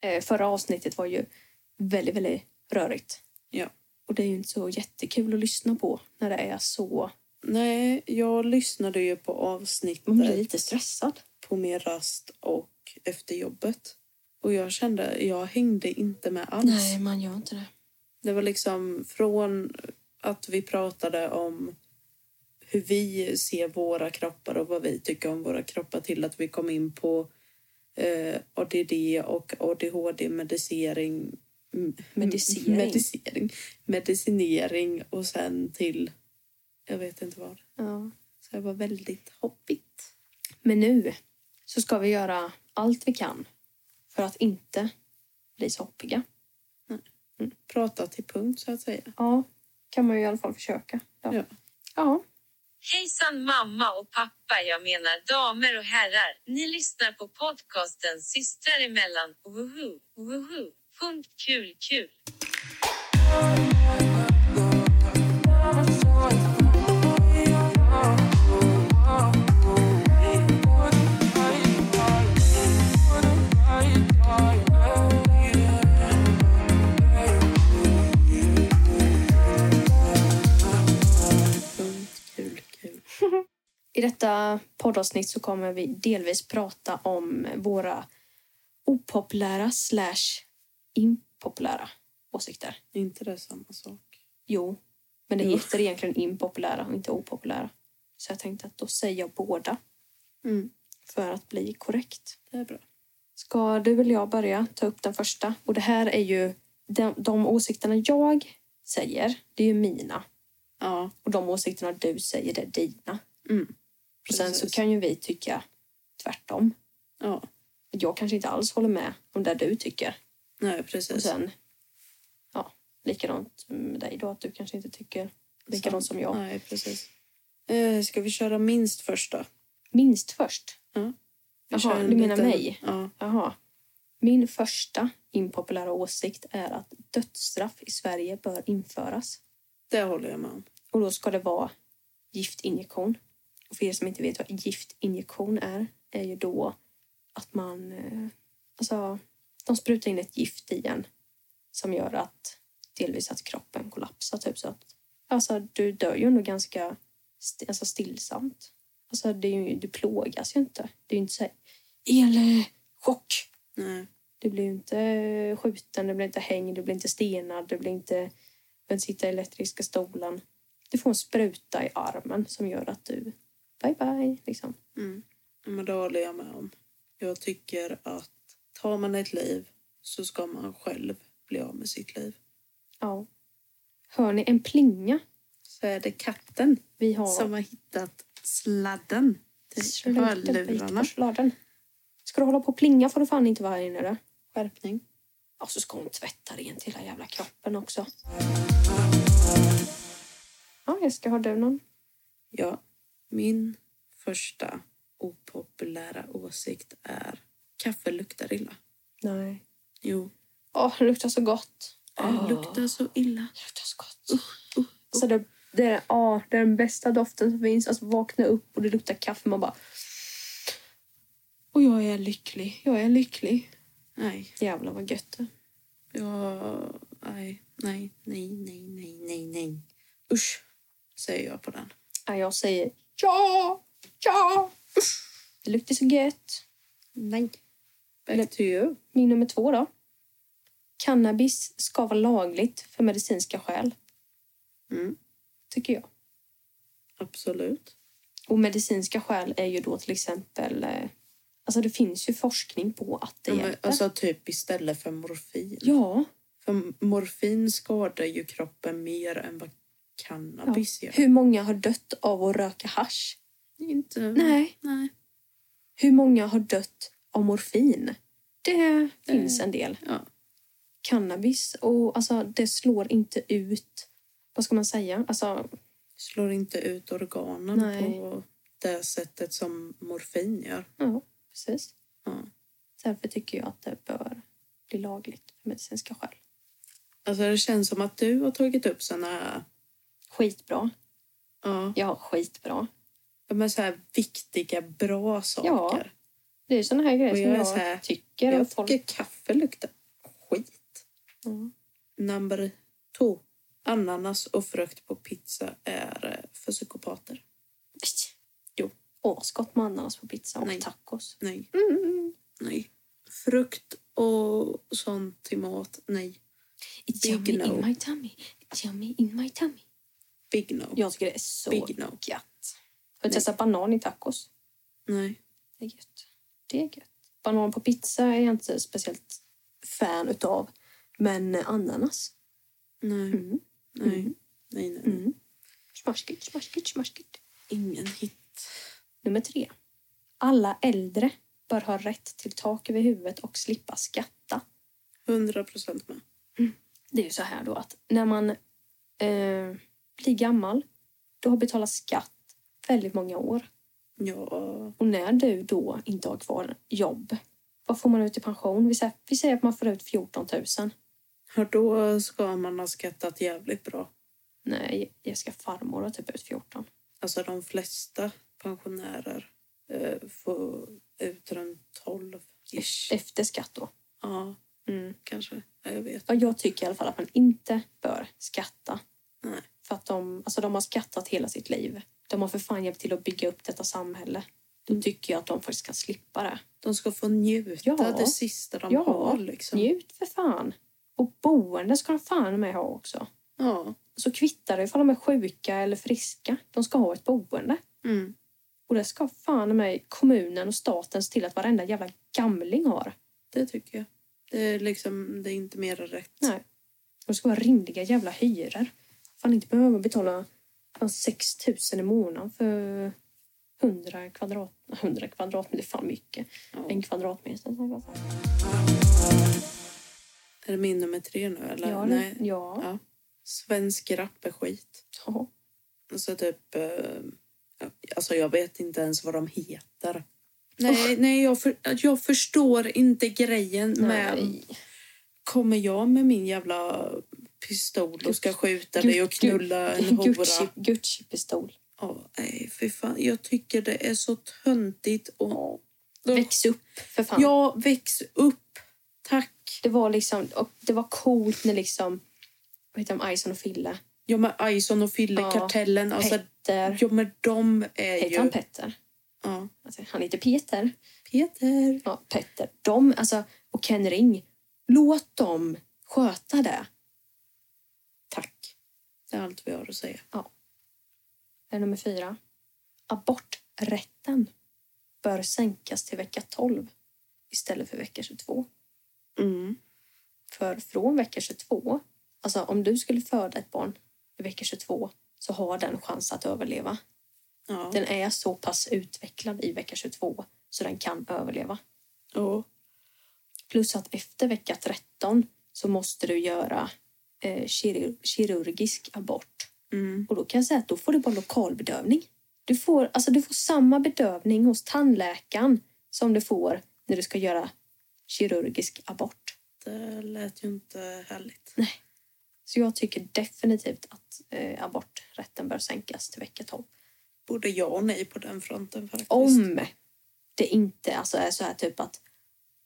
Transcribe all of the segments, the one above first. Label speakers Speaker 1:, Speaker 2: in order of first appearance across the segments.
Speaker 1: Eh, förra avsnittet var ju väldigt, väldigt rörigt.
Speaker 2: Ja.
Speaker 1: Och det är ju inte så jättekul att lyssna på när det är så.
Speaker 2: Nej, jag lyssnade ju på
Speaker 1: Man blir
Speaker 2: avsnittet
Speaker 1: lite stressad.
Speaker 2: på min rast och efter jobbet. Och jag kände, jag hängde inte med alls.
Speaker 1: man gör inte det.
Speaker 2: Det var liksom från att vi pratade om hur vi ser våra kroppar och vad vi tycker om våra kroppar till att vi kom in på eh, ADD och ADHD-medicering. m-
Speaker 1: Medicering.
Speaker 2: Medicering. Medicinering och sen till... Jag vet inte vad.
Speaker 1: Ja.
Speaker 2: Så det var väldigt hoppigt.
Speaker 1: Men nu så ska vi göra allt vi kan för att inte bli så hoppiga.
Speaker 2: Prata till punkt, så att säga.
Speaker 1: Ja, kan man ju i alla fall försöka. Ja.
Speaker 2: Ja.
Speaker 1: ja.
Speaker 3: Hejsan mamma och pappa, jag menar damer och herrar. Ni lyssnar på podcasten Systrar emellan. Woho, woho. Punkt kul kul.
Speaker 2: Punkt, kul, kul.
Speaker 1: I detta poddavsnitt så kommer vi delvis prata om våra opopulära slash impopulära åsikter.
Speaker 2: Är inte det samma sak?
Speaker 1: Jo, men det
Speaker 2: Jo.
Speaker 1: heter egentligen impopulära och inte opopulära. Så jag tänkte att då säger jag båda
Speaker 2: Mm,
Speaker 1: för att bli korrekt.
Speaker 2: det är bra.
Speaker 1: Ska du eller jag börja ta upp den första? Och det här är ju de, de åsikterna jag säger, det är ju mina.
Speaker 2: Ja.
Speaker 1: Och de åsikterna du säger, det är dina.
Speaker 2: Mm.
Speaker 1: Och sen så
Speaker 2: Precis.
Speaker 1: kan ju vi tycka tvärtom.
Speaker 2: Ja.
Speaker 1: Jag kanske inte alls håller med om det du tycker.
Speaker 2: Nej, precis.
Speaker 1: Och sen, ja, likadant med dig då, att du kanske inte tycker likadant som jag.
Speaker 2: Nej, precis. Eh, ska vi köra minst först då?
Speaker 1: Minst först.
Speaker 2: Vi
Speaker 1: Jaha,
Speaker 2: kör en
Speaker 1: du menar mig?
Speaker 2: Ja.
Speaker 1: Jaha. Min första impopulära åsikt är att dödsstraff i Sverige bör införas.
Speaker 2: Det håller jag med om.
Speaker 1: Och då ska det vara giftinjektion. Och för er som inte vet vad giftinjektion är, är ju då att man... eh, Alltså, de sprutar in ett gift i en som gör att delvis att kroppen kollapsar. Typ, så att, alltså, du dör ju ändå ganska st- alltså, stillsamt. Alltså, det är ju, du plågas ju inte. Det är ju inte så här elchock.
Speaker 2: Nej.
Speaker 1: Du blir ju inte eh, skjuten, du blir inte hängd, du blir inte stenad, du blir inte du sitta i elektriska stolen. Du får en spruta i armen som gör att du bye bye liksom.
Speaker 2: Mm. Men det håller jag med om. Jag tycker att tar man ett liv så ska man själv bli av med sitt liv.
Speaker 1: Ja. Hör ni en plinga?
Speaker 2: Så är det katten
Speaker 1: Vi har
Speaker 2: som har hittat sladden till
Speaker 1: sluten bit
Speaker 2: hörlurarna.
Speaker 1: på sladen. Ska du hålla på och plinga får du fan inte vara här inne. eller?
Speaker 2: Skärpning.
Speaker 1: Och så ska hon tvätta rent hela jävla kroppen också. Ja, Jessica, har du någon?
Speaker 2: Ja, min första opopulära åsikt är kaffe luktar illa.
Speaker 1: Nej.
Speaker 2: Jo,
Speaker 1: Åh, det luktar så gott.
Speaker 2: det luktar så illa.
Speaker 1: Det luktar så gott. Så Alltså, det, det, är, ja, det är den bästa doften som finns. Alltså vakna upp och det luktar kaffe. Man bara... Och jag är lycklig. Jag är lycklig.
Speaker 2: Nej,
Speaker 1: Jävlar vad gött det är.
Speaker 2: Ja, nej, nej, nej, nej, nej, nej, nej. Usch, säger jag på den.
Speaker 1: Ja, Jag säger ja, ja. Det luktar så gött.
Speaker 2: Nej. Back to you.
Speaker 1: Min nummer två då. Cannabis ska vara lagligt för medicinska skäl,
Speaker 2: Mm,
Speaker 1: tycker jag.
Speaker 2: absolut.
Speaker 1: Och medicinska skäl är ju då till exempel... eh, Alltså det finns ju forskning på att det
Speaker 2: Ja, men,
Speaker 1: hjälper.
Speaker 2: alltså typ istället för morfin.
Speaker 1: ja,
Speaker 2: För morfin skadar ju kroppen mer än vad cannabis gör.
Speaker 1: hur många har dött av att röka hasch?
Speaker 2: Inte.
Speaker 1: Nej.
Speaker 2: Nej.
Speaker 1: Hur många har dött av morfin? Det finns en del.
Speaker 2: Eh, Ja.
Speaker 1: Cannabis, och alltså, det slår inte ut... Vad ska man säga? Alltså,
Speaker 2: Slår inte ut organen
Speaker 1: Nej.
Speaker 2: på det sättet som morfin gör.
Speaker 1: ja, precis.
Speaker 2: Ja.
Speaker 1: Därför tycker jag att det bör bli lagligt för medicinska skäl.
Speaker 2: Alltså det känns som att du har tagit upp såna här,
Speaker 1: Skitbra.
Speaker 2: ja,
Speaker 1: Ja, skitbra.
Speaker 2: men så här viktiga, bra saker.
Speaker 1: Det är ju sådana här grejer
Speaker 2: Och
Speaker 1: som
Speaker 2: jag är
Speaker 1: jag
Speaker 2: så här,
Speaker 1: tycker.
Speaker 2: jag
Speaker 1: att folk...
Speaker 2: tycker kaffe luktar Number two. Ananas och frukt på pizza är eh, för psykopater.
Speaker 1: Nej. Jo. Åskott med ananas på pizza och
Speaker 2: Nej. Mm.
Speaker 1: tacos.
Speaker 2: Nej. Nej. Frukt och sånt till mat. Nej.
Speaker 1: It's
Speaker 2: Big
Speaker 1: yummy in
Speaker 2: no.
Speaker 1: my tummy. It's yummy in my tummy.
Speaker 2: Big no.
Speaker 1: Jag tycker det är så
Speaker 2: Big no.
Speaker 1: gött. Har du
Speaker 2: Nej.
Speaker 1: testat banan i tacos?
Speaker 2: Nej.
Speaker 1: Det är gött. Det är gött. Banan på pizza är jag inte speciellt fan utav. Men eh, ananas.
Speaker 2: Nej.
Speaker 1: Mm.
Speaker 2: Nej. Nej, nej, nej.
Speaker 1: Mm. Smaskigt, smaskigt, smaskigt.
Speaker 2: Ingen hit.
Speaker 1: Nummer tre. Alla äldre bör ha rätt till tak över huvudet och slippa skatta.
Speaker 2: 100 procent med.
Speaker 1: Det är ju så här då att när man eh, blir gammal, då har betalat skatt väldigt många år.
Speaker 2: Ja.
Speaker 1: Och när du då inte har kvar jobb, vad får man ut i pension? Vi säger, vi säger att man får ut 14 000.
Speaker 2: Och då ska man ha skattat jävligt bra.
Speaker 1: Nej, jag ska farmor har typ ut 14.
Speaker 2: Alltså de flesta pensionärer eh, får ut runt 12 ish.
Speaker 1: Efter skatt då.
Speaker 2: Ja,
Speaker 1: Mm.
Speaker 2: kanske. Ja, jag vet.
Speaker 1: Ja, jag tycker i alla fall att man inte bör skatta.
Speaker 2: Nej.
Speaker 1: För att de, alltså de har skattat hela sitt liv. De har för fan hjälpt till att bygga upp detta samhälle. Då tycker jag att de faktiskt ska slippa det.
Speaker 2: De ska få njuta
Speaker 1: Ja.
Speaker 2: det sista de
Speaker 1: Ja.
Speaker 2: har. Liksom.
Speaker 1: Njut för fan! Och boende ska de fan med ha också.
Speaker 2: Ja.
Speaker 1: Så kvittar det ifall de är sjuka eller friska. De ska ha ett boende.
Speaker 2: Mm.
Speaker 1: Och det ska fan med kommunen och staten se till att varenda jävla gamling har.
Speaker 2: Det tycker jag. Det är, liksom, det är inte mer rätt.
Speaker 1: Nej. Och det ska vara rimliga jävla hyror. Fan inte behöva man betala fan 6 000 i månaden för 100 kvadrat. 100 kvadratmeter, det är fan mycket.
Speaker 2: Ja.
Speaker 1: En kvadratmeter. så jag bara,
Speaker 2: Är det min nummer tre nu? Eller?
Speaker 1: Ja, det,
Speaker 2: Nej.
Speaker 1: ja.
Speaker 2: Ja. Svensk rap är skit.
Speaker 1: ja.
Speaker 2: Alltså typ... Eh, alltså jag vet inte ens vad de heter. Nej, nej jag, för, jag förstår inte grejen med...
Speaker 1: Nej.
Speaker 2: Kommer jag med min jävla pistol och ska skjuta dig och knulla en
Speaker 1: Gucci,
Speaker 2: hora?
Speaker 1: Gucci-pistol.
Speaker 2: Ja, nej, fy fan. Jag tycker det är så töntigt. Och,
Speaker 1: Väx upp för fan.
Speaker 2: jag väx upp. Tack.
Speaker 1: Det var liksom, och det var coolt när liksom, vad heter de, Ison och Fille.
Speaker 2: Ja, men Ison och
Speaker 1: Ja.
Speaker 2: Fille-kartellen. Alltså,
Speaker 1: Petter.
Speaker 2: ja, men de är
Speaker 1: Heter han
Speaker 2: ju...
Speaker 1: Petter?
Speaker 2: Ja.
Speaker 1: Alltså, han heter Peter.
Speaker 2: Peter.
Speaker 1: Ja, Petter. De, alltså, och Ken Ring. Låt dem sköta det. Tack.
Speaker 2: Det är allt vi har att säga.
Speaker 1: Det är nummer fyra. Aborträtten bör sänkas till vecka 12 istället för vecka 22.
Speaker 2: Mm.
Speaker 1: För från vecka 22, alltså om du skulle föda ett barn i vecka 22 så har den chans att överleva.
Speaker 2: Ja.
Speaker 1: Den är så pass utvecklad i vecka 22 så den kan överleva.
Speaker 2: Ja.
Speaker 1: Plus att efter vecka 13 så måste du göra eh, kirur- kirurgisk abort.
Speaker 2: Mm.
Speaker 1: Och då kan jag säga att då får du bara lokalbedövning. Du får, alltså du får samma bedövning hos tandläkaren som du får när du ska göra kirurgisk abort.
Speaker 2: Det lät ju inte härligt.
Speaker 1: Så jag tycker definitivt att eh, aborträtten bör sänkas till vecka 12.
Speaker 2: Både ja och nej på den fronten faktiskt.
Speaker 1: Om det inte alltså, är så här typ att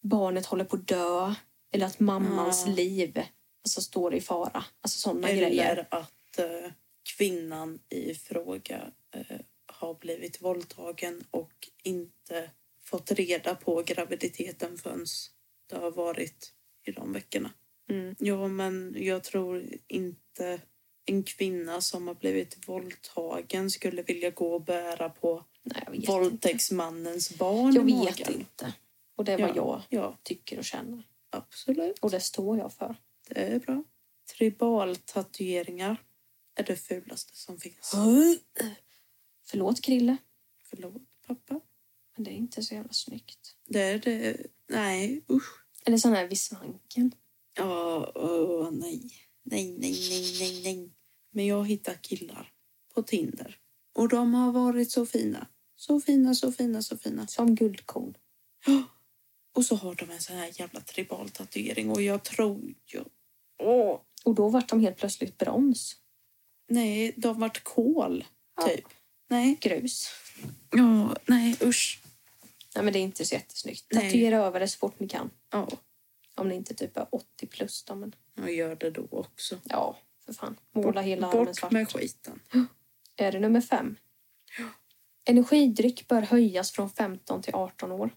Speaker 1: barnet håller på att dö eller att mammans
Speaker 2: Ja.
Speaker 1: liv alltså, står i fara. Alltså sådana
Speaker 2: Eller
Speaker 1: grejer.
Speaker 2: att eh, kvinnan i fråga eh, har blivit våldtagen och inte fått reda på graviditeten förrän det har varit i de veckorna.
Speaker 1: Mm.
Speaker 2: Ja, men jag tror inte en kvinna som har blivit våldtagen skulle vilja gå och bära på
Speaker 1: Nej, jag vet
Speaker 2: våldtäktsmannens barn
Speaker 1: inte.
Speaker 2: i
Speaker 1: Jag vet
Speaker 2: magen.
Speaker 1: inte. Och det är vad jag
Speaker 2: Ja,
Speaker 1: tycker och känner.
Speaker 2: absolut.
Speaker 1: Och det står jag för.
Speaker 2: Det är bra. Tribaltatueringar är det fulaste som finns.
Speaker 1: Förlåt Krille,
Speaker 2: Förlåt, pappa.
Speaker 1: men det är inte så jävla snyggt.
Speaker 2: Det är det... Nej, usch.
Speaker 1: Eller sån här vid svanken.
Speaker 2: Ja, åh, nej. Nej, nej, nej, nej, nej. Men jag hittar killar på Tinder. Och de har varit så fina. Så fina, så fina, så fina.
Speaker 1: Som guldkorn.
Speaker 2: Och så har de en sån här jävla tribaltatuering och jag tror ju... Åh,
Speaker 1: Och då vart de helt plötsligt brons.
Speaker 2: nej, de vart kol,
Speaker 1: Ja.
Speaker 2: typ. Nej.
Speaker 1: Grus.
Speaker 2: Ja, nej, usch.
Speaker 1: Nej men det är inte så jättesnyggt.
Speaker 2: Nej.
Speaker 1: Tatuera över det så fort ni kan.
Speaker 2: Ja.
Speaker 1: Om det inte typ är 80 plus då, men
Speaker 2: Och gör det då också.
Speaker 1: ja, för fan. Måla hela armen
Speaker 2: Bort
Speaker 1: svart.
Speaker 2: med skiten.
Speaker 1: Är det nummer fem? Energidryck bör höjas från 15 till 18 år.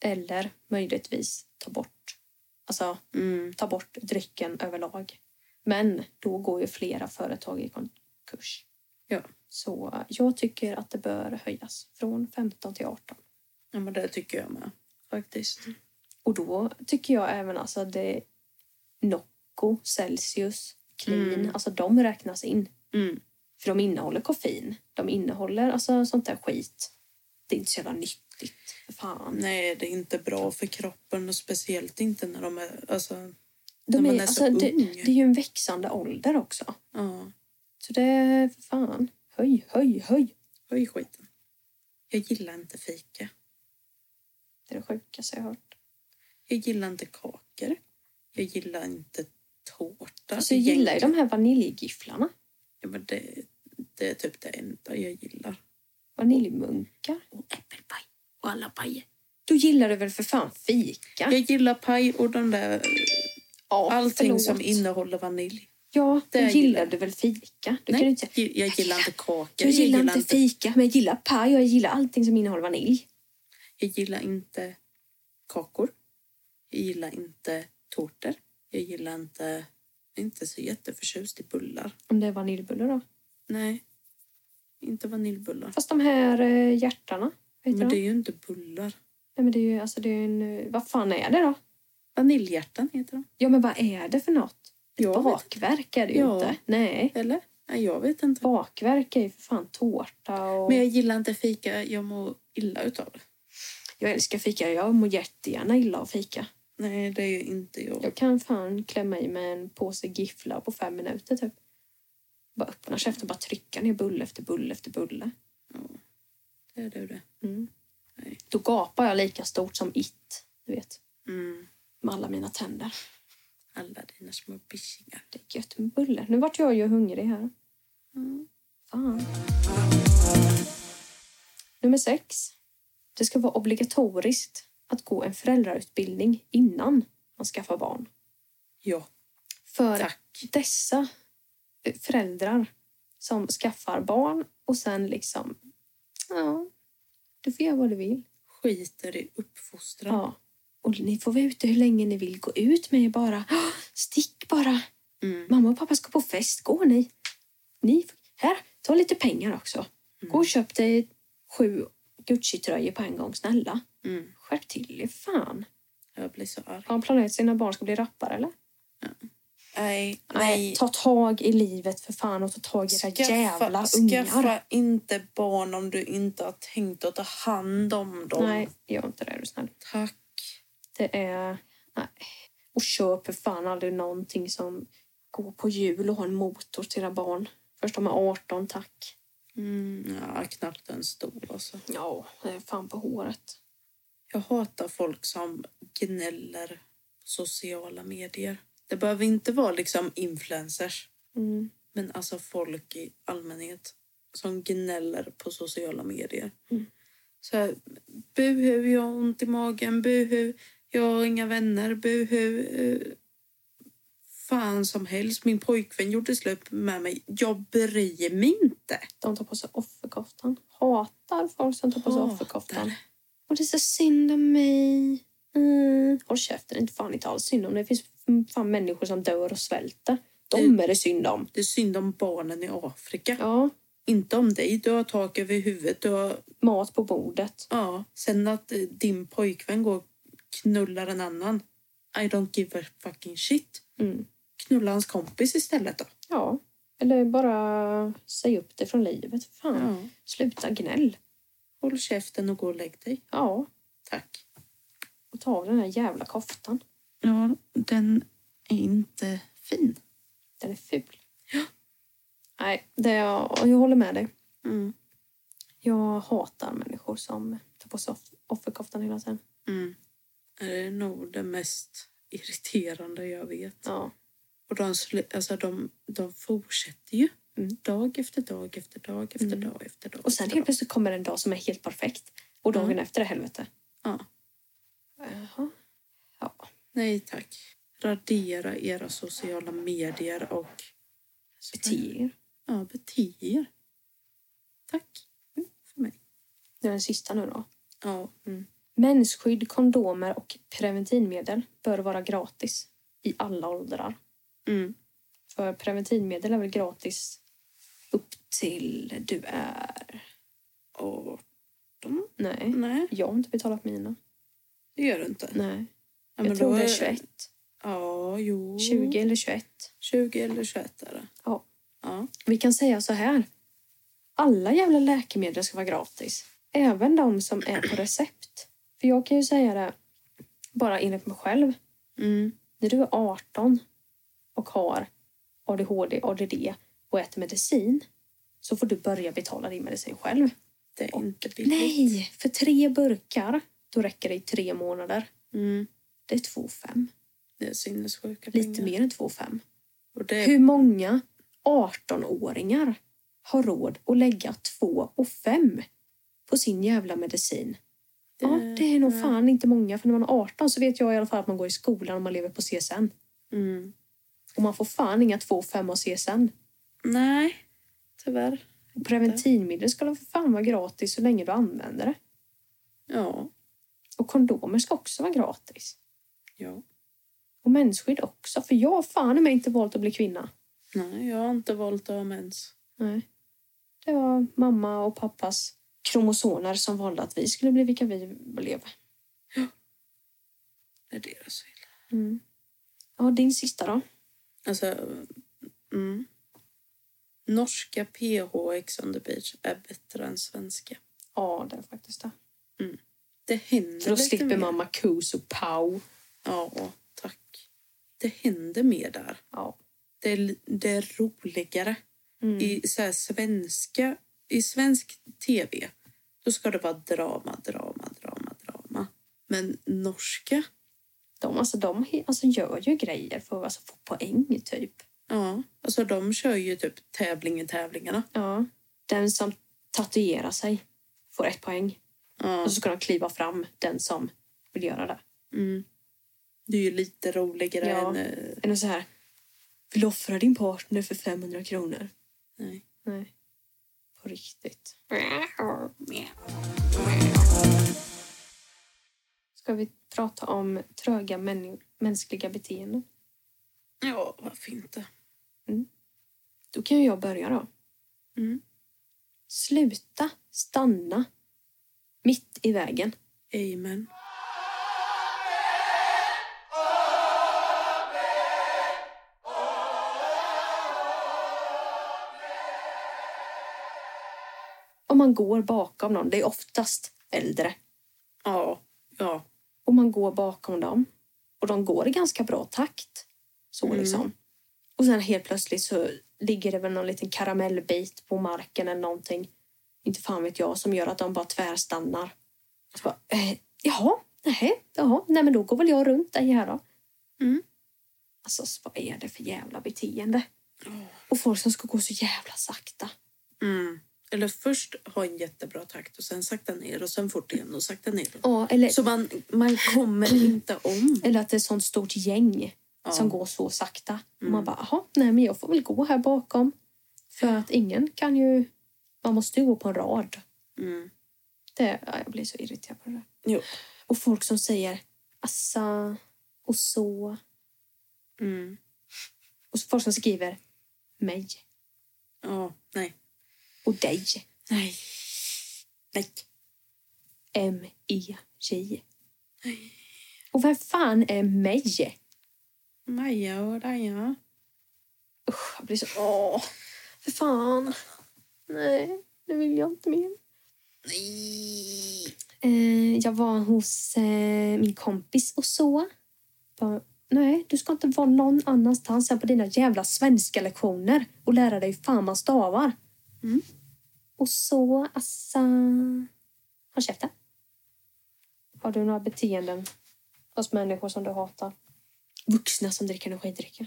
Speaker 1: Eller möjligtvis ta bort. Alltså,
Speaker 2: Mm.
Speaker 1: ta bort drycken överlag. Men då går ju flera företag i konkurs.
Speaker 2: Ja.
Speaker 1: Så jag tycker att det bör höjas från 15 till 18.
Speaker 2: Ja, men det tycker jag med. Faktiskt.
Speaker 1: Och då tycker jag även alltså det Nocco, Celsius, Clean,
Speaker 2: Mm.
Speaker 1: alltså de räknas in.
Speaker 2: Mm.
Speaker 1: För de innehåller koffein. De innehåller alltså sånt där skit. Det är inte så jävla nyttigt. Fan.
Speaker 2: Nej, det är inte bra för kroppen och speciellt inte när de är... Alltså,
Speaker 1: De
Speaker 2: när
Speaker 1: är,
Speaker 2: man är
Speaker 1: alltså,
Speaker 2: så
Speaker 1: det,
Speaker 2: ung.
Speaker 1: det är ju en växande ålder också.
Speaker 2: ja.
Speaker 1: Så det är för fan. Höj, höj, höj.
Speaker 2: Höj skiten. Jag gillar inte fika.
Speaker 1: Det är det sjukaste jag har hört.
Speaker 2: Jag gillar inte kakor. Jag gillar inte tårta.
Speaker 1: Alltså, jag gillar ju de här vaniljgifflarna.
Speaker 2: Ja, men det, det är typ det enda jag gillar.
Speaker 1: Vaniljmunkar.
Speaker 2: Och äppelpaj. Och alla pajer.
Speaker 1: Då gillar du väl för fan fika?
Speaker 2: Jag gillar paj och de där...
Speaker 1: Ja,
Speaker 2: allting
Speaker 1: förlåt.
Speaker 2: som innehåller vanilj.
Speaker 1: Ja, då
Speaker 2: Det
Speaker 1: gillar,
Speaker 2: gillar
Speaker 1: du väl fika? Du kan
Speaker 2: Nej.
Speaker 1: ju inte...
Speaker 2: Jag, jag gillar inte kakor.
Speaker 1: Jag gillar inte fika, men jag gillar paj och jag gillar allting som innehåller vanilj.
Speaker 2: Jag gillar inte kakor. Jag gillar inte tårtor. Jag gillar inte... Jag är inte så jätteförtjust i bullar.
Speaker 1: Om det är vaniljbullar då.
Speaker 2: Nej, inte vaniljbullar.
Speaker 1: Fast de här eh, hjärtarna, vad heter
Speaker 2: Men det
Speaker 1: de?
Speaker 2: är ju inte bullar.
Speaker 1: Nej, men det är ju alltså, det är ju en... eh, Vad fan är det då?
Speaker 2: Vaniljhjärtan heter de.
Speaker 1: Ja, men vad är det för något? Ett
Speaker 2: Jag vet-
Speaker 1: bakverk är det ju
Speaker 2: Ja.
Speaker 1: inte. Nej.
Speaker 2: Eller? Nej, jag vet inte.
Speaker 1: Bakverk är ju för fan tårta och...
Speaker 2: Men jag gillar inte fika. Jag mår illa utav det.
Speaker 1: Jag älskar fika. Jag mår jättegärna illa av fika.
Speaker 2: Nej, det är ju inte jag.
Speaker 1: Jag kan fan klämma i mig en påse gifflar på fem minuter typ. Bara öppna käften och bara trycka ner bulle efter bulle efter bulle. Mm.
Speaker 2: Det är du det. Nej.
Speaker 1: Då gapar jag lika stort som it, du vet.
Speaker 2: Mm.
Speaker 1: Med alla mina tänder.
Speaker 2: Alla dina små bissingar.
Speaker 1: Det är gött med bulle. Nu vart jag ju hungrig här.
Speaker 2: Mm.
Speaker 1: Fan. Nummer sex. Det ska vara obligatoriskt att gå en föräldrautbildning innan man skaffar barn.
Speaker 2: Ja,
Speaker 1: För
Speaker 2: tack.
Speaker 1: dessa eh, föräldrar som skaffar barn och sen liksom... Ja, du får göra vad du vill.
Speaker 2: Skiter i uppfostran.
Speaker 1: Ja. Och ni får vara ute hur länge ni vill. Gå ut med er bara. "Ah, Stick bara.
Speaker 2: Mm.
Speaker 1: Mamma och pappa ska på fest. Gå ni. ni här, ta lite pengar också.
Speaker 2: Mm.
Speaker 1: Gå och köp dig sju Gucci-tröjor på en gång. Snälla,
Speaker 2: Mm.
Speaker 1: skärp till er fan.
Speaker 2: Jag blir så arg.
Speaker 1: Har han planerat sina barn ska bli rappare eller?
Speaker 2: Nej,
Speaker 1: Ta tag i livet för fan och ta tag i era jävla ungar.
Speaker 2: skaffa inte barn om du inte har tänkt att ta hand om dem.
Speaker 1: Nej, gör inte det är du snäll.
Speaker 2: Tack.
Speaker 1: Det är... Nej. Och köp för fan aldrig någonting som går på hjul och har en motor till era barn. Först de är 18, tack.
Speaker 2: Mm, ja, knappt en stor. Alltså.
Speaker 1: Ja, det är fan på håret.
Speaker 2: Jag hatar folk som gnäller på sociala medier. Det behöver inte vara liksom influencers,
Speaker 1: Mm.
Speaker 2: men alltså folk i allmänhet som gnäller på sociala medier.
Speaker 1: Mm.
Speaker 2: Så här, buhu, jag har ont i magen, buhu, jag har inga vänner, buhu. eh, Fan som helst, min pojkvän gjorde slut med mig. Jag bryr mig inte.
Speaker 1: De tar på sig offerkoftan. Hatar folk som tar på sig
Speaker 2: Hatar.
Speaker 1: offerkoftan. Och det är så synd om mig. Mm. Håll käften, det är inte fan inte alls synd om. Det finns fan människor som dör och svälter. De är det synd om.
Speaker 2: Det är synd om barnen i Afrika.
Speaker 1: Mm. Ja,
Speaker 2: Inte om dig, du har tak över huvudet, du har
Speaker 1: mat på bordet.
Speaker 2: Ja, sen att eh, din pojkvän går och knullar en annan. I don't give a fucking shit.
Speaker 1: Mm.
Speaker 2: Knulla hans kompis istället då.
Speaker 1: Ja, eller bara säg upp det från livet. Fan,
Speaker 2: Ja.
Speaker 1: sluta gnäll.
Speaker 2: Håll käften och gå och lägg dig.
Speaker 1: Ja,
Speaker 2: Tack.
Speaker 1: och ta av den här jävla koftan.
Speaker 2: Ja, den är inte fin.
Speaker 1: Den är ful. Nej, det jag, jag håller med dig.
Speaker 2: Mm.
Speaker 1: Jag hatar människor som tar på sig off- offerkoftan hela tiden.
Speaker 2: Mm. Det är nog det mest irriterande jag vet.
Speaker 1: Ja.
Speaker 2: Och de, slu- alltså de, de fortsätter ju.
Speaker 1: Mm.
Speaker 2: Dag efter dag efter dag efter
Speaker 1: Mm.
Speaker 2: dag efter dag.
Speaker 1: Och sen
Speaker 2: efter
Speaker 1: helt
Speaker 2: dag.
Speaker 1: plötsligt kommer en dag som är helt perfekt. Och dagen
Speaker 2: Mm.
Speaker 1: efter är helvete.
Speaker 2: Ja.
Speaker 1: Jaha. Ja.
Speaker 2: Nej tack. Radera era sociala medier och
Speaker 1: Alltså, Bete er.
Speaker 2: ja, bete er. Tack Mm, för mig.
Speaker 1: Det var den sista nu då.
Speaker 2: Ja,
Speaker 1: Mm. Mensskydd, kondomer och preventivmedel bör vara gratis i alla åldrar.
Speaker 2: mm.
Speaker 1: För preventivmedel är väl gratis upp till du är...
Speaker 2: och
Speaker 1: Nej,
Speaker 2: nej,
Speaker 1: jag har inte betalat mina.
Speaker 2: det gör du inte.
Speaker 1: Nej,
Speaker 2: Ja,
Speaker 1: jag tror
Speaker 2: då Oh.
Speaker 1: det är 21.
Speaker 2: Ja, jo.
Speaker 1: 20 eller 21.
Speaker 2: 20 eller 21 är det.
Speaker 1: Ja.
Speaker 2: Ja.
Speaker 1: Vi kan säga så här. Alla jävla läkemedel ska vara gratis. Även de som är på recept. För jag kan ju säga det bara enligt mig själv.
Speaker 2: Mm.
Speaker 1: När du är 18 och har ADHD, ADD och äter medicin så får du börja betala din medicin själv.
Speaker 2: Det är
Speaker 1: Och-
Speaker 2: inte billigt.
Speaker 1: Nej, för tre burkar då räcker det i tre månader.
Speaker 2: Mm.
Speaker 1: Det är 2,5.
Speaker 2: Det är sinnessjuka
Speaker 1: Lite
Speaker 2: pengar.
Speaker 1: mer än 2,5.
Speaker 2: Och det
Speaker 1: Hur många 18-åringar har råd att lägga 2 och 5 på sin jävla medicin? Ja, det är nog fan inte många. För när man är 18 så vet jag i alla fall att man går i skolan och man lever på CSN.
Speaker 2: Mm.
Speaker 1: Och man får fan inga 2 och 5 av CSN.
Speaker 2: Nej, tyvärr.
Speaker 1: Och Preventivmedel ska för fan vara gratis så länge du använder det.
Speaker 2: Ja.
Speaker 1: Och kondomer ska också vara gratis.
Speaker 2: ja.
Speaker 1: Och mensskydd också. För jag har fan i mig inte valt att bli kvinna.
Speaker 2: Nej, jag har inte valt att ha mens.
Speaker 1: Nej. Det var mamma och pappas kromosoner som valde att vi skulle bli vilka vi blev.
Speaker 2: Det är deras fel.
Speaker 1: Mm. Ja, din sista då?
Speaker 2: Alltså, mm. Norska PH Ex on the beach är bättre än svenska.
Speaker 1: Ja, det är faktiskt det.
Speaker 2: Det händer
Speaker 1: För då
Speaker 2: lite
Speaker 1: slipper
Speaker 2: mer.
Speaker 1: mamma kus och pow.
Speaker 2: Ja, tack. Det händer mer där.
Speaker 1: Ja.
Speaker 2: Det är, li- det är roligare.
Speaker 1: Mm.
Speaker 2: I så här, svenska, I svensk tv då ska det vara drama, drama, drama, drama. Men norska,
Speaker 1: De, alltså, de he- alltså, gör ju grejer för att alltså, få poäng, typ.
Speaker 2: ja. Alltså de kör ju typ tävling i tävlingarna.
Speaker 1: Ja. Den som tatuerar sig får ett poäng.
Speaker 2: Ja.
Speaker 1: Och så ska de kliva fram, den som vill göra det.
Speaker 2: Mm. Det är ju lite roligare
Speaker 1: Ja.
Speaker 2: än... eh,
Speaker 1: Eller så här. Vill du offra din partner för 500 kronor?
Speaker 2: Nej.
Speaker 1: Nej. På riktigt. Ska vi prata om tröga män- mänskliga beteenden?
Speaker 2: Ja, varför inte?
Speaker 1: Då kan ju jag börja då.
Speaker 2: Mm.
Speaker 1: Sluta stanna mitt i vägen.
Speaker 2: Amen.
Speaker 1: Om man går bakom någon, det är oftast äldre,
Speaker 2: Ja. Ja.
Speaker 1: och man går bakom dem och de går i ganska bra takt. Så
Speaker 2: Mm.
Speaker 1: liksom. Och sen helt plötsligt så ligger det väl någon liten karamellbit på marken eller någonting. Inte fan vet jag, som gör att de bara tvärstannar. Så bara, eh, jaha, nej, jaha, nej men då går väl jag runt dig här då.
Speaker 2: Mm.
Speaker 1: Alltså så vad är det för jävla beteende? Och folk som ska gå så jävla sakta.
Speaker 2: Mm. Eller först ha en jättebra takt och sen sakta ner och sen fort igen och sakta ner.
Speaker 1: Ja, eller,
Speaker 2: Så man, man kommer inte om.
Speaker 1: eller att det är ett sånt stort gäng.
Speaker 2: Ja.
Speaker 1: som går så sakta. Och
Speaker 2: Mm.
Speaker 1: man bara, jaha, nej men jag får väl gå här bakom. För att ingen kan ju... Man måste ju gå på en rad.
Speaker 2: Mm.
Speaker 1: Det, ja, jag blir så irriterad på det där.
Speaker 2: Jo.
Speaker 1: Och folk som säger assa och så.
Speaker 2: Mm.
Speaker 1: Och så folk som skriver mig
Speaker 2: Ja. Nej.
Speaker 1: och dig.
Speaker 2: Nej. Nej.
Speaker 1: M-E-J. E Och vem fan är mig?
Speaker 2: Maja och Raja.
Speaker 1: Usch, jag blir så... Åh, för fan. Nej, det vill jag inte mer.
Speaker 2: Nej.
Speaker 1: Eh, jag var hos eh, min kompis och så. Bara, Nej, du ska inte vara någon annanstans än på dina jävla svenska lektioner och lära dig hur fan man stavar.
Speaker 2: Mm.
Speaker 1: Och så, assa... Håll käften. Har du några beteenden hos människor som du hatar? Vuxna som dricker energidrycker.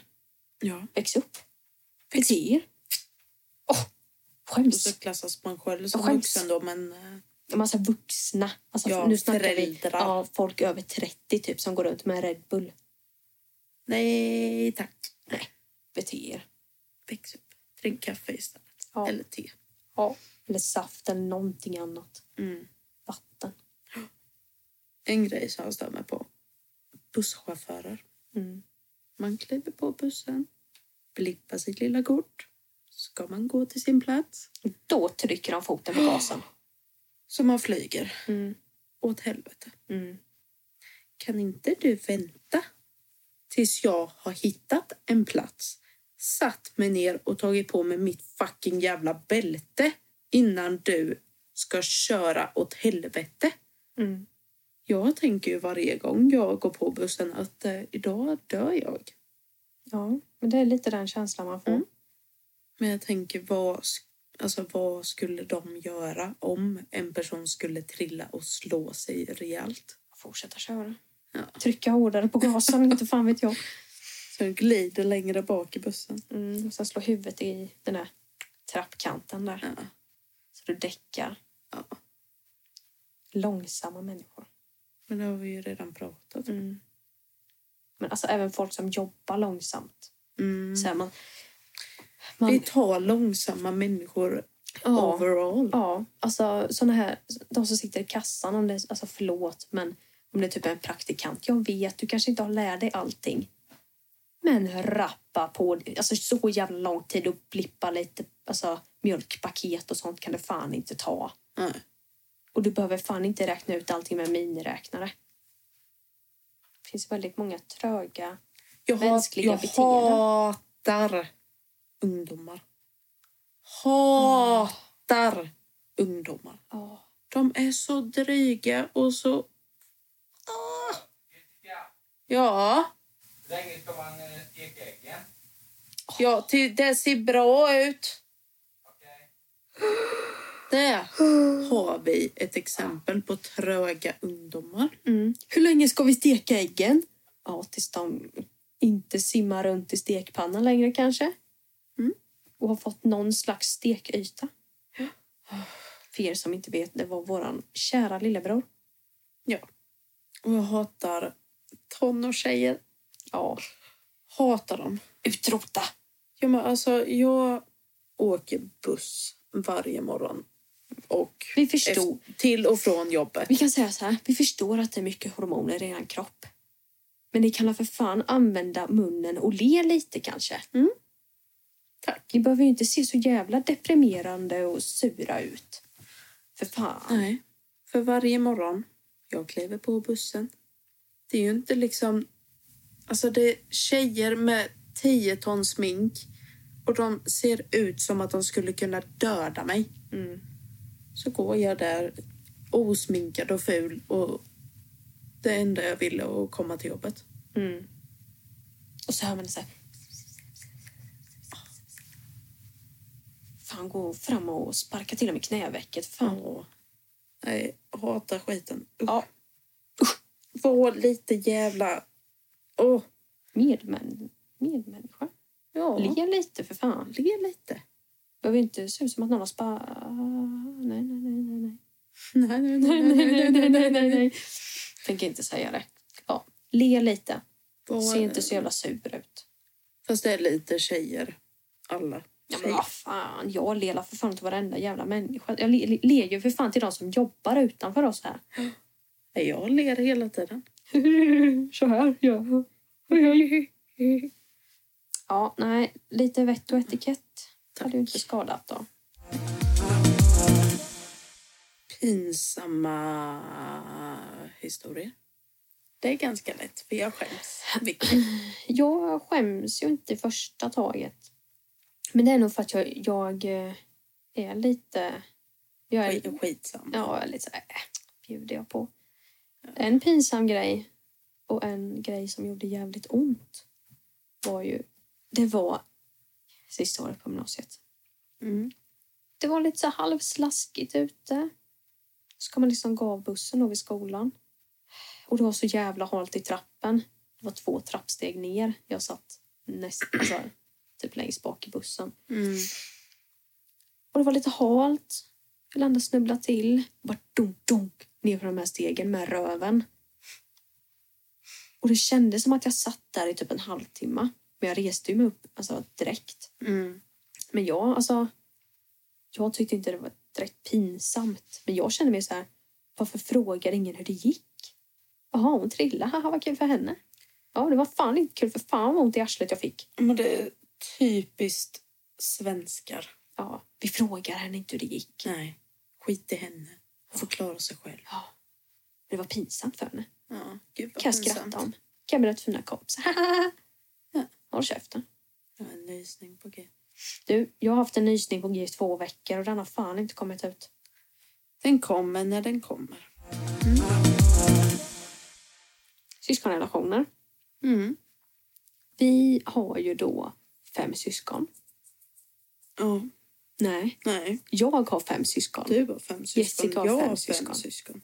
Speaker 2: Ja.
Speaker 1: Väx upp. Bete er. Åh,
Speaker 2: Och så
Speaker 1: skäms.
Speaker 2: klassas man själv som
Speaker 1: Jag skäms.
Speaker 2: vuxen då men... eh,
Speaker 1: En massa vuxna. Alltså,
Speaker 2: Ja,
Speaker 1: nu snackar vi
Speaker 2: föräldrar.
Speaker 1: ja, folk över 30 typ som går runt med en Red Bull.
Speaker 2: Nej tack.
Speaker 1: Bete er.
Speaker 2: Väx upp. Drick kaffe istället.
Speaker 1: Ja.
Speaker 2: Eller te.
Speaker 1: Ja. Eller saft eller någonting annat. Vatten.
Speaker 2: Mm. En grej som jag stör mig på. Busschaufförer.
Speaker 1: Mm.
Speaker 2: Man kliver på bussen, blippar sitt lilla kort. Ska man gå till sin plats?
Speaker 1: Då trycker de foten på gasen.
Speaker 2: Så man flyger.
Speaker 1: Mm.
Speaker 2: Åt helvete.
Speaker 1: Mm.
Speaker 2: Kan inte du vänta tills jag har hittat en plats? Satt mig ner och tagit på mig mitt fucking jävla bälte innan du ska köra åt helvete.
Speaker 1: Mm.
Speaker 2: Jag tänker ju varje gång jag går på bussen att eh, idag dör jag.
Speaker 1: Ja, men det är lite den känslan man får.
Speaker 2: Mm. Men jag tänker, vad, sk- alltså, vad skulle de göra om en person skulle trilla och slå sig rejält?
Speaker 1: Fortsätta köra.
Speaker 2: Ja.
Speaker 1: Trycka hårdare på gasen, inte fan vet jag.
Speaker 2: Så den glider längre bak i bussen.
Speaker 1: Mm. Och sen slå huvudet i den där trappkanten där.
Speaker 2: Ja.
Speaker 1: Så du däckar.
Speaker 2: Ja.
Speaker 1: Långsamma människor.
Speaker 2: Men det har vi ju redan pratat om.
Speaker 1: Men alltså även folk som jobbar långsamt.
Speaker 2: Mm.
Speaker 1: Så här, man, man,
Speaker 2: Vi tar långsamma människor
Speaker 1: ja,
Speaker 2: overall.
Speaker 1: ja, alltså såna här, de som sitter i kassan, om det, alltså förlåt men om det är typ en praktikant. Jag vet, du kanske inte har lärt dig allting. Men rappa på, alltså så jävla lång tid och blippa lite, alltså mjölkpaket och sånt kan du fan inte ta.
Speaker 2: Nej.
Speaker 1: Och du behöver fan inte räkna ut allting med miniräknare. Det finns väldigt många tröga
Speaker 2: Jag, hat,
Speaker 1: Mänskliga
Speaker 2: jag
Speaker 1: beteenden.
Speaker 2: hatar ungdomar. Hatar ungdomar.
Speaker 1: Ja.
Speaker 2: De är så dryga och så... Ah. Ja,
Speaker 4: Hur länge ska man eh, steka äggen?
Speaker 2: ja till, det ser bra ut.
Speaker 4: Okej.
Speaker 2: Där har vi ett exempel på tröga ungdomar.
Speaker 1: Mm. Hur länge ska vi steka äggen? Ja, tills de inte simmar runt i stekpannan längre kanske.
Speaker 2: Mm.
Speaker 1: Och har fått någon slags stekyta. För er som inte vet, det var våran kära lillebror.
Speaker 2: Och jag hatar tonårstjejer.
Speaker 1: Ja,
Speaker 2: Hatar dem.
Speaker 1: utrota!
Speaker 2: Ja, men alltså, jag åker buss varje morgon. Och
Speaker 1: Vi förstod.
Speaker 2: eft- till och från jobbet.
Speaker 1: Vi kan säga så här, vi förstår att det är mycket hormoner i er kropp. Men ni kan väl för fan använda munnen och le lite kanske?
Speaker 2: Mm. Tack.
Speaker 1: Ni behöver ju inte se så jävla deprimerande och sura ut. För fan.
Speaker 2: Nej, för varje morgon jag kliver på bussen. Det är ju inte liksom... Alltså det är tjejer med 10 ton smink och de ser ut som att de skulle kunna döda mig.
Speaker 1: Mm.
Speaker 2: Så går jag där osminkad och ful och det enda jag ville var att komma till jobbet.
Speaker 1: Mm. Och så hör man det så här. Fan, gå fram och sparka till dem i knävecket. Fan.
Speaker 2: Ja. Nej, hatar skiten. Usch.
Speaker 1: Ja.
Speaker 2: Var lite jävla... Åh!
Speaker 1: Medmän, medmänniska.
Speaker 2: Ja.
Speaker 1: Le lite för fan.
Speaker 2: Le lite.
Speaker 1: Behöver inte se ut som att någon har spa... Nej, nej, nej, nej, nej.
Speaker 2: Nej,
Speaker 1: Nej,
Speaker 2: nej,
Speaker 1: nej, nej, nej, nej, nej. Tänker inte säga det. Ja, le lite.
Speaker 2: Var-
Speaker 1: Se inte så jävla sur ut.
Speaker 2: Fast det är lite tjejer. Alla
Speaker 1: Ja, men
Speaker 2: tjejer.
Speaker 1: vad fan, jag ler för fan till varenda jävla människa. Jag le- le- ler ju för fan till de som jobbar utanför oss här.
Speaker 2: Nej, Jag ler hela tiden.
Speaker 1: Så här, ja. Ja, nej, lite vett och etikett hade ju inte skadat då.
Speaker 2: Pinsamma historier. Det är ganska lätt, för jag skäms mycket.
Speaker 1: Jag skäms ju inte i första taget. Men det är nog för att jag, jag eh, är lite... Jag är,
Speaker 2: Skit- Skitsamma.
Speaker 1: ja, jag är lite så här, äh, bjuder jag på. En pinsam grej och en grej som gjorde jävligt ont var ju... Det var sista året på gymnasiet.
Speaker 2: Mm.
Speaker 1: det var lite så här halvslaskigt ute. Så kom man liksom gå av bussen då vid skolan. Och det var så jävla halt i trappen. Det var två trappsteg ner. Jag satt näst, alltså, typ längst bak i bussen.
Speaker 2: Mm.
Speaker 1: Och det var lite halt. Jag landade och snubblade till. Bara dunk, dunk ner för de här stegen med röven. Och det kändes som att jag satt där i typ en halvtimme. Men jag reste ju mig upp alltså, direkt.
Speaker 2: Mm.
Speaker 1: Men jag, alltså, jag tyckte inte det var direkt pinsamt. Men jag kände mig så här, varför frågar ingen hur det gick? Jaha, hon trillade. Haha, vad kul för henne. Ja, det var fan inte kul för fan vad ont i arslet jag fick.
Speaker 2: Men det är typiskt svenskar.
Speaker 1: Ja, vi frågar henne inte hur det gick.
Speaker 2: Nej, skit i henne. Hon får klara sig själv.
Speaker 1: Ja, men det var pinsamt för henne.
Speaker 2: Ja, gud vad
Speaker 1: Kan jag
Speaker 2: pinsamt.
Speaker 1: skratta om. Kan jag berätta för mina kompisar.
Speaker 2: Ja.
Speaker 1: Håll käften.
Speaker 2: Det var en nysning på G.
Speaker 1: Du, jag har haft en nysning på G i två veckor och den har fan inte kommit ut.
Speaker 2: Den kommer när den kommer.
Speaker 1: Syskonrelationer.
Speaker 2: Mm.
Speaker 1: Vi har ju då fem syskon.
Speaker 2: Ja,
Speaker 1: Nej,
Speaker 2: nej.
Speaker 1: jag har fem syskon.
Speaker 2: Du har fem syskon.
Speaker 1: Jessica har
Speaker 2: jag
Speaker 1: fem
Speaker 2: har fem
Speaker 1: syskon.
Speaker 2: syskon.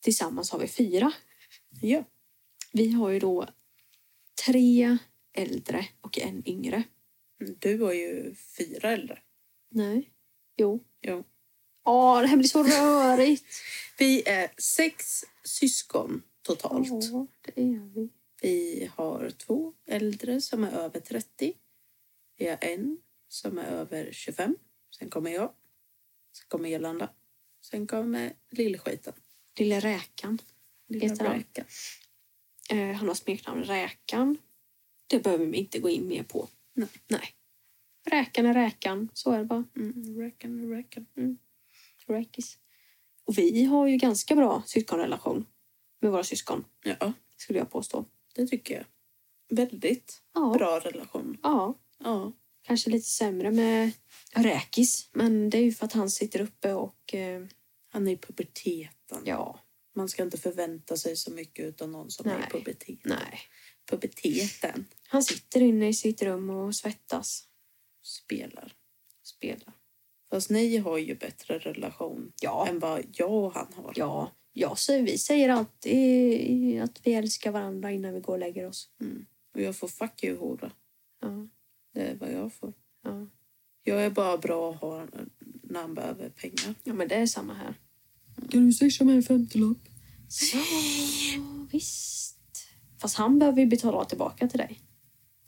Speaker 1: Tillsammans har vi fyra.
Speaker 2: Ja.
Speaker 1: Vi har ju då tre äldre och en yngre.
Speaker 2: Mm, Du har ju fyra äldre.
Speaker 1: Nej. Jo.
Speaker 2: Jo.
Speaker 1: Åh, det här blir så rörigt.
Speaker 2: Vi är sex syskon totalt.
Speaker 1: Ja, det är vi.
Speaker 2: Vi har två äldre som är över 30. Vi har en som är över 25. Sen kommer jag. Sen kommer Jolanda. Sen kommer lillskiten.
Speaker 1: Lilla Räkan.
Speaker 2: Lilla
Speaker 1: Heter han?
Speaker 2: Bräkan.
Speaker 1: Eh, han har smeknamn Räkan. Det behöver vi inte gå in mer på.
Speaker 2: Nej.
Speaker 1: Nej. Räkan är Räkan. Så är det bara.
Speaker 2: Mm, Räkan, räkan.
Speaker 1: Räkis. Och vi har ju ganska bra syskonrelation med våra syskon,
Speaker 2: Ja,
Speaker 1: skulle jag påstå.
Speaker 2: det tycker jag. Väldigt
Speaker 1: Ja.
Speaker 2: bra relation.
Speaker 1: Ja.
Speaker 2: Ja.
Speaker 1: Kanske lite sämre med Räkis, men det är ju för att han sitter uppe och eh,
Speaker 2: Han är i puberteten.
Speaker 1: ja,
Speaker 2: Man ska inte förvänta sig så mycket av någon som är
Speaker 1: Nej.
Speaker 2: i pubertet.
Speaker 1: nej.
Speaker 2: puberteten.
Speaker 1: Han sitter inne i sitt rum och svettas.
Speaker 2: Spelar.
Speaker 1: Spelar.
Speaker 2: Fast ni har ju bättre relation
Speaker 1: Ja,
Speaker 2: än vad jag och han har.
Speaker 1: ja. ja så vi säger alltid att vi älskar varandra innan vi går och lägger oss.
Speaker 2: Och jag får fuck you hora.
Speaker 1: Ja,
Speaker 2: Det är vad jag får.
Speaker 1: ja.
Speaker 2: Jag är bara bra att ha när han behöver pengar.
Speaker 1: ja men det är samma här.
Speaker 2: Kan du swisha mig en femtiolapp?
Speaker 1: Så, visst. Fast han behöver ju betala tillbaka till dig.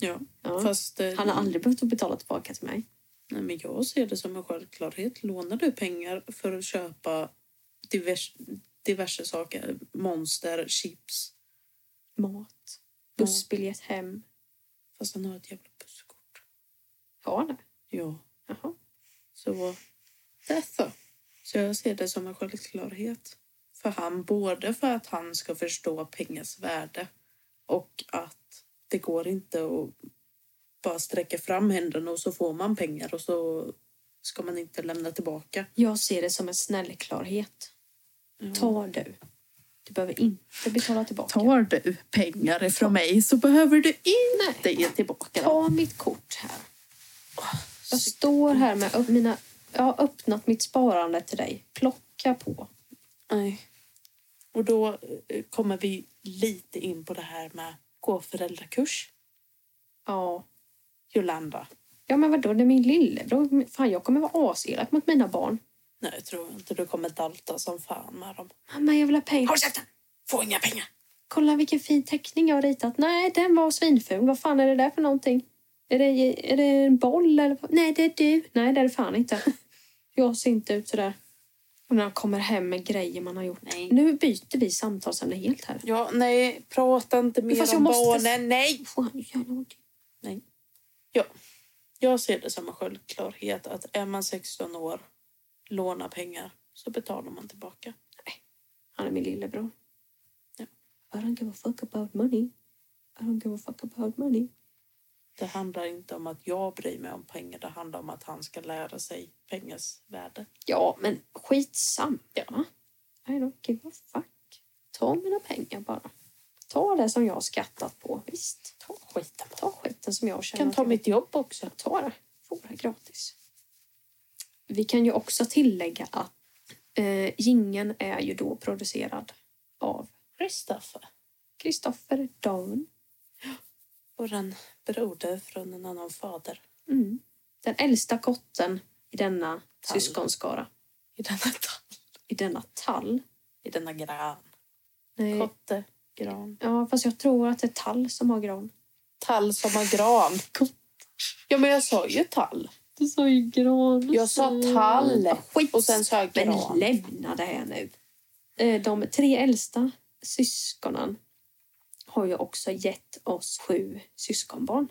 Speaker 2: Ja.
Speaker 1: Ja.
Speaker 2: Fast eh,
Speaker 1: Han har aldrig behövt att betala tillbaka till mig.
Speaker 2: nej, men jag ser det som en självklarhet. Lånar du pengar för att köpa divers, diverse saker, monster, chips.
Speaker 1: Mat, bussbiljett hem.
Speaker 2: Fast han har ett jävla busskort.
Speaker 1: Har han det?
Speaker 2: Ja.
Speaker 1: Jaha.
Speaker 2: Så därför. Så jag ser det som en självklarhet. För han, både för att han ska förstå pengars värde och att det går inte att bara sträcka fram händerna och så får man pengar och så ska man inte lämna tillbaka.
Speaker 1: Jag ser det som en snällklarhet.
Speaker 2: Ja.
Speaker 1: Ta du. Du behöver inte betala tillbaka.
Speaker 2: Tar du pengar ifrån mig så behöver du inte ge tillbaka dem.
Speaker 1: Ta mitt kort här. Jag står här med upp- mina... Jag har öppnat mitt sparande till dig. Plocka på.
Speaker 2: Nej. Och då eh, kommer vi lite in på det här med gå föräldrakurs.
Speaker 1: Ja.
Speaker 2: Jolanda.
Speaker 1: Ja, men vadå? Det är min lillebror. Fan, jag kommer vara aselak mot mina barn.
Speaker 2: Nej, jag tror inte du kommer dalta som fan med dem.
Speaker 1: Mamma, jag vill ha pengar.
Speaker 2: Håll käften! Få inga pengar!
Speaker 1: Kolla vilken fin teckning jag har ritat. Nej, den var svinful. Vad fan är det där för någonting? Är det, är det en boll eller? vad? Nej, det är du. Nej, det är det fan inte. Jag ser inte ut sådär. Och när han kommer hem med grejer man har gjort.
Speaker 2: Nej.
Speaker 1: Nu byter vi samtalsämne helt här.
Speaker 2: Ja, nej, prata inte mer
Speaker 1: fast jag
Speaker 2: om
Speaker 1: måste-
Speaker 2: barnen. Nej!
Speaker 1: Får han ju jävla ont.
Speaker 2: Jag ser det som en självklarhet att är man 16 år, låna pengar, så betalar man tillbaka.
Speaker 1: Han är min lillebror.
Speaker 2: Ja.
Speaker 1: I don't give a fuck about money. I don't give a fuck about money.
Speaker 2: Det handlar inte om att jag bryr mig om pengar, det handlar om att han ska lära sig pengars värde.
Speaker 1: Ja, men skitsam. Ja. I don't give a fuck. Ta mina pengar bara. Ta det som jag har skattat på. Visst. Ta skiten. Ta skiten som jag
Speaker 2: Jag
Speaker 1: känner.
Speaker 2: kan
Speaker 1: att
Speaker 2: ta
Speaker 1: jag-
Speaker 2: mitt jobb också.
Speaker 1: Ta det. Få det gratis. Vi kan ju också tillägga att eh, gingen är ju då producerad av
Speaker 2: Kristoffer,
Speaker 1: Kristoffer Daun.
Speaker 2: våran broder från en annan fader.
Speaker 1: Mm. Den äldsta kotten i denna
Speaker 2: Tall.
Speaker 1: syskonskara.
Speaker 2: I denna, ta-
Speaker 1: I denna tall.
Speaker 2: I denna gran.
Speaker 1: Nej,
Speaker 2: Kotte. Gran.
Speaker 1: Ja, fast jag tror att det är tall som har gran.
Speaker 2: Tall som har gran. Ja, men jag sa ju tall.
Speaker 1: Du sa ju gran.
Speaker 2: Jag sa tall.
Speaker 1: Mm. Skit.
Speaker 2: Och sen sa jag
Speaker 1: Men
Speaker 2: gran.
Speaker 1: lämna det här nu. Eh, De tre äldsta syskonen har ju också gett oss sju syskonbarn.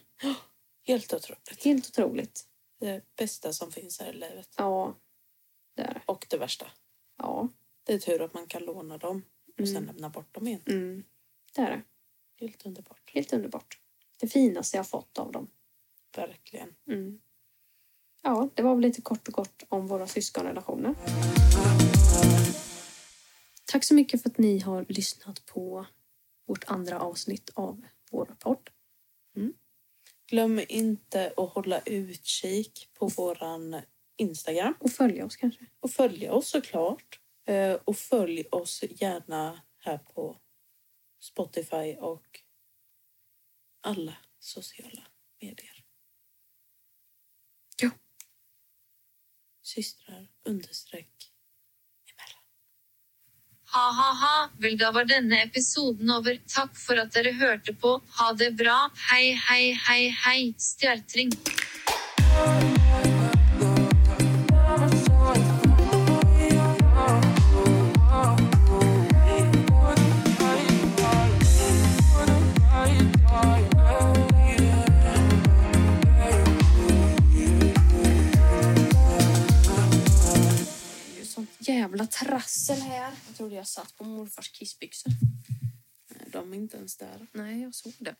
Speaker 2: Helt otroligt.
Speaker 1: Helt otroligt.
Speaker 2: Det bästa som finns här i livet.
Speaker 1: Ja, där.
Speaker 2: Och det värsta.
Speaker 1: Ja.
Speaker 2: Det är tur att man kan låna dem och sen
Speaker 1: Mm.
Speaker 2: lämna bort dem igen.
Speaker 1: Mm. Där är det.
Speaker 2: Helt underbart.
Speaker 1: Helt underbart. Det finaste jag fått av dem.
Speaker 2: Verkligen.
Speaker 1: Mm. Ja, det var väl lite kort och gott om våra syskonrelationer. Tack så mycket för att ni har lyssnat på vårt andra avsnitt av vår rapport.
Speaker 2: Glöm inte att hålla utkik på våran Instagram
Speaker 1: Och följa oss kanske.
Speaker 2: och följa oss såklart. Eh, Och följ oss gärna här på Spotify och alla sociala medier.
Speaker 1: Ja.
Speaker 2: Systrar understreck emellan.
Speaker 3: Ha-ha-ha, vel da var denne episoden over. Takk for at dere hørte på. Ha det bra. Hei, hei, hei, hei. Stjertring.
Speaker 1: Det är ju sånt jävla trassel här. Jag trodde jag satt på morfars kissbyxor.
Speaker 2: Nej, De är inte ens där.
Speaker 1: Nej, jag såg det.